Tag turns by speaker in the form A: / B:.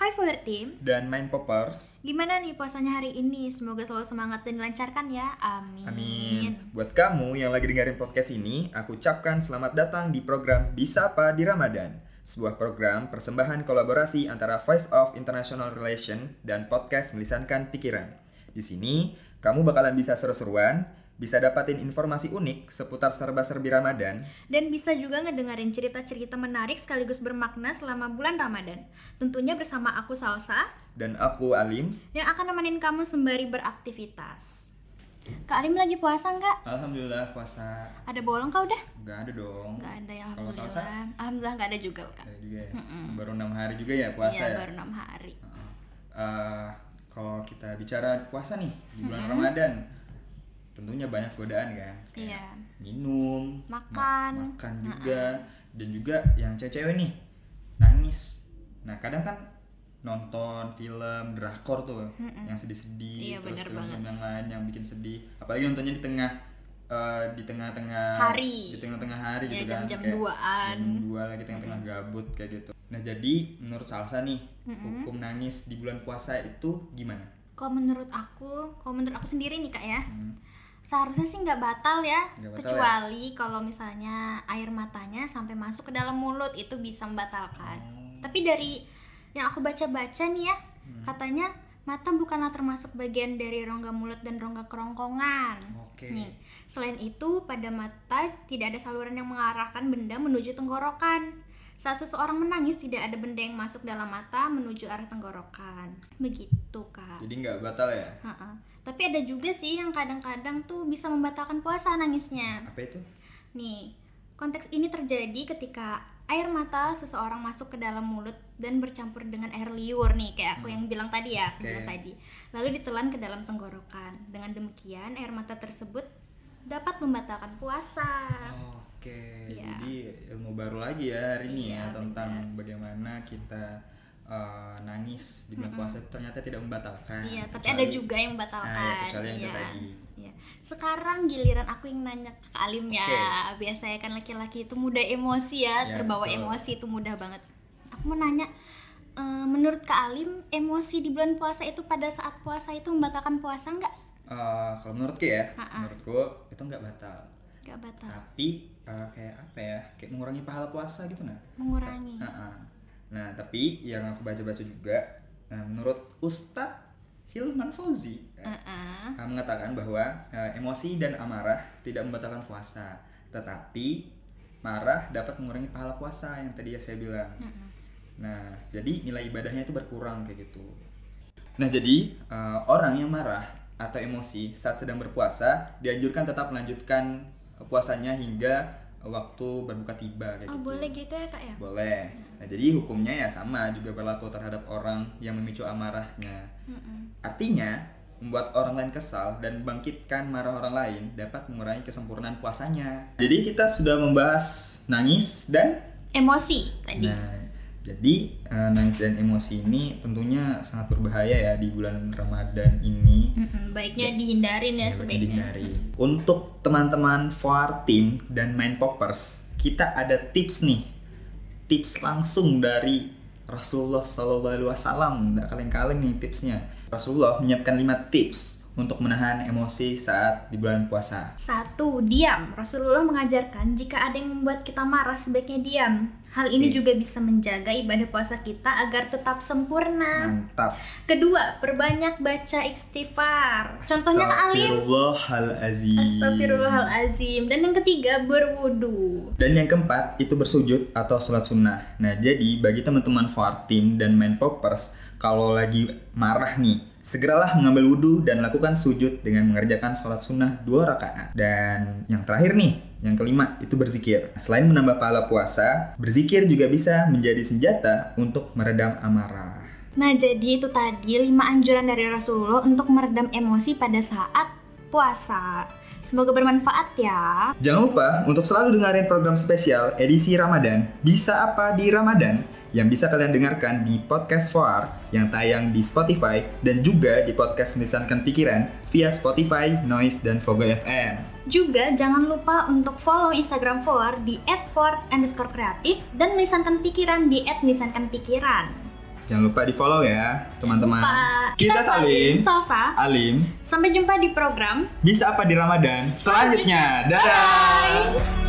A: Hai Fower Team,
B: dan main poppers.
A: gimana nih puasanya hari ini? Semoga selalu semangat dan dilancarkan ya, amin.
B: Amin. Buat kamu yang lagi dengerin podcast ini, aku ucapkan selamat datang di program Disapa di Ramadan. Sebuah program persembahan kolaborasi antara Voice of International Relation dan podcast Melisankan Pikiran. Di sini, kamu bakalan bisa seru-seruan, bisa dapatin informasi unik seputar serba-serbi Ramadan,
A: Dan bisa juga ngedengerin cerita-cerita menarik sekaligus bermakna selama bulan Ramadan. Tentunya bersama aku Salsa
B: dan aku Alim.
A: yang akan nemenin kamu sembari beraktivitas. Kak Alim lagi puasa nggak?
B: Alhamdulillah puasa.
A: Ada bolong kau udah?
B: Nggak ada dong.
A: Nggak ada ya,
B: Kalau
A: alhamdulillah.
B: Salsa?
A: Alhamdulillah nggak ada juga kak.
B: Ada juga ya.
A: Mm-mm.
B: Baru enam hari juga ya puasa
A: iya
B: ya.
A: baru enam hari.
B: Eh, kalau kita bicara puasa nih di bulan Ramadan, tentunya banyak godaan kan. Kayak
A: Iya.
B: Minum, ma-
A: Makan.
B: makan juga, dan juga yang cewek-cewek nih nangis. Nah kadang kan nonton film drakor tuh yang
A: Iya,
B: sedih-sedih terus
A: bener
B: film-film yang lain yang bikin sedih apalagi nontonnya di tengah eh, di tengah-tengah
A: Hari.
B: di tengah-tengah hari
A: Ya,
B: gitu kan
A: jam-jam
B: Kayak
A: duaan.
B: jam dua lagi tengah-tengah gabut kayak gitu nah jadi menurut salsa nih
A: Hmm.
B: hukum nangis di bulan puasa itu gimana
A: Kalau menurut aku, kalau menurut aku sendiri nih kak ya,
B: Hmm.
A: seharusnya sih nggak batal ya
B: Nggak batal
A: kecuali kalau misalnya air matanya sampai masuk ke dalam mulut itu bisa membatalkan
B: Hmm.
A: tapi dari yang aku baca-baca nih ya katanya mata bukanlah termasuk bagian dari rongga mulut dan rongga kerongkongan
B: oke
A: Nih, selain itu pada mata tidak ada saluran yang mengarahkan benda menuju tenggorokan. Saat seseorang menangis tidak ada benda yang masuk dalam mata menuju arah tenggorokan. Begitu, Kak.
B: jadi nggak batal ya
A: Ha-ha. Tapi ada juga sih yang kadang-kadang tuh bisa membatalkan puasa nangisnya.
B: apa itu
A: Nih, konteks ini terjadi ketika air mata seseorang masuk ke dalam mulut dan bercampur dengan air liur nih kayak aku
B: Hmm.
A: yang bilang tadi ya, aku
B: Oke.
A: bilang tadi. Lalu ditelan ke dalam tenggorokan. Dengan demikian air mata tersebut dapat membatalkan puasa.
B: Oke,
A: Iya.
B: jadi ilmu baru lagi ya hari ini
A: Iya,
B: ya tentang bagaimana kita eh, nangis di bulan puasa itu ternyata tidak membatalkan.
A: Iya, tapi ada
B: Nah, Kecuali-
A: juga yang membatalkan.
B: Nah, ya, kecuali yang itu
A: iya.
B: tadi.
A: Iya. Sekarang giliran aku yang nanya ke Kak Alim ya.
B: Oke.
A: Biasanya kan laki-laki itu mudah emosi ya,
B: Iya,
A: terbawa
B: betul.
A: emosi itu mudah banget. Aku mau nanya, eh, menurut Kak Alim, emosi di bulan puasa itu pada saat puasa itu membatalkan puasa nggak?
B: Eh, kalau menurutku ya,
A: Ha-ha.
B: menurutku itu nggak batal.
A: Nggak batal,
B: Tapi eh, kayak apa ya? Kayak mengurangi pahala puasa gitu nah.
A: mengurangi.
B: Ha-ha. Nah, tapi yang aku baca-baca juga, nah, menurut Ustadz Hilman Fauzi, eh,
A: ah. Heeh.
B: Uh, mengatakan bahwa uh, emosi dan amarah tidak membatalkan puasa, tetapi marah dapat mengurangi pahala puasa yang tadi ya saya bilang.
A: Heeh.
B: Nah, jadi nilai ibadahnya itu berkurang kayak gitu. Nah, jadi uh, orang yang marah atau emosi saat sedang berpuasa dianjurkan tetap melanjutkan puasanya hingga waktu berbuka tiba kayak
A: Oh
B: gitu.
A: boleh gitu ya kak ya?
B: Boleh. Nah, jadi hukumnya ya sama juga berlaku terhadap orang yang memicu amarahnya.
A: Heeh.
B: Artinya, membuat orang lain kesal dan membangkitkan marah orang lain dapat mengurangi kesempurnaan puasanya. Jadi kita sudah membahas nangis dan
A: Emosi tadi.
B: nah, jadi eh, nangis dan emosi ini tentunya sangat berbahaya ya di bulan Ramadan ini.
A: Heeh, Baiknya dihindarin ya,
B: Ya,
A: sebaiknya.
B: dihindari. Untuk teman-teman Foar Team dan Mind Poppers, kita ada tips nih. Tips langsung dari Rasulullah Sallallahu Alaihi Wasallam. Nggak kaleng-kaleng nih tipsnya. Rasulullah menyiapkan 5 tips untuk menahan emosi saat di bulan puasa?
A: Satu, diam. Rasulullah mengajarkan jika ada yang membuat kita marah sebaiknya diam. Hal ini
B: Oke.
A: juga bisa menjaga ibadah puasa kita agar tetap sempurna.
B: Mantap.
A: Kedua, perbanyak baca istighfar. Contohnya ke Alim.
B: Astagfirullahalazim.
A: Astagfirullahalazim. Dan yang ketiga, berwudu.
B: Dan yang keempat itu bersujud atau sholat sunnah. Nah jadi bagi teman-teman Foar Team dan Main Poppers kalau lagi marah nih segeralah mengambil wudhu dan lakukan sujud dengan mengerjakan sholat sunnah dua rakaat. Dan yang terakhir nih yang kelima itu berzikir. Nah, Selain menambah pahala puasa, berzikir juga bisa menjadi senjata untuk meredam amarah.
A: Nah, jadi itu tadi 5 anjuran dari Rasulullah untuk meredam emosi pada saat puasa. Semoga bermanfaat ya.
B: Jangan lupa untuk selalu dengerin program spesial edisi Ramadan Bisa Apa di Ramadan yang bisa kalian dengarkan di podcast Foar yang tayang di Spotify dan juga di podcast Misalkan Pikiran via Spotify, Noise, dan Fogo FM.
A: Juga jangan lupa untuk follow Instagram Forward di @forward underscore kreatif dan misankan pikiran di @misankanpikiran.
B: Jangan lupa di follow ya teman-teman.
A: Lupa.
B: Kita salin.
A: Salsa.
B: Alim,
A: Sampai jumpa di program
B: Bisa Apa di Ramadan selanjutnya. Dadah!
A: Bye.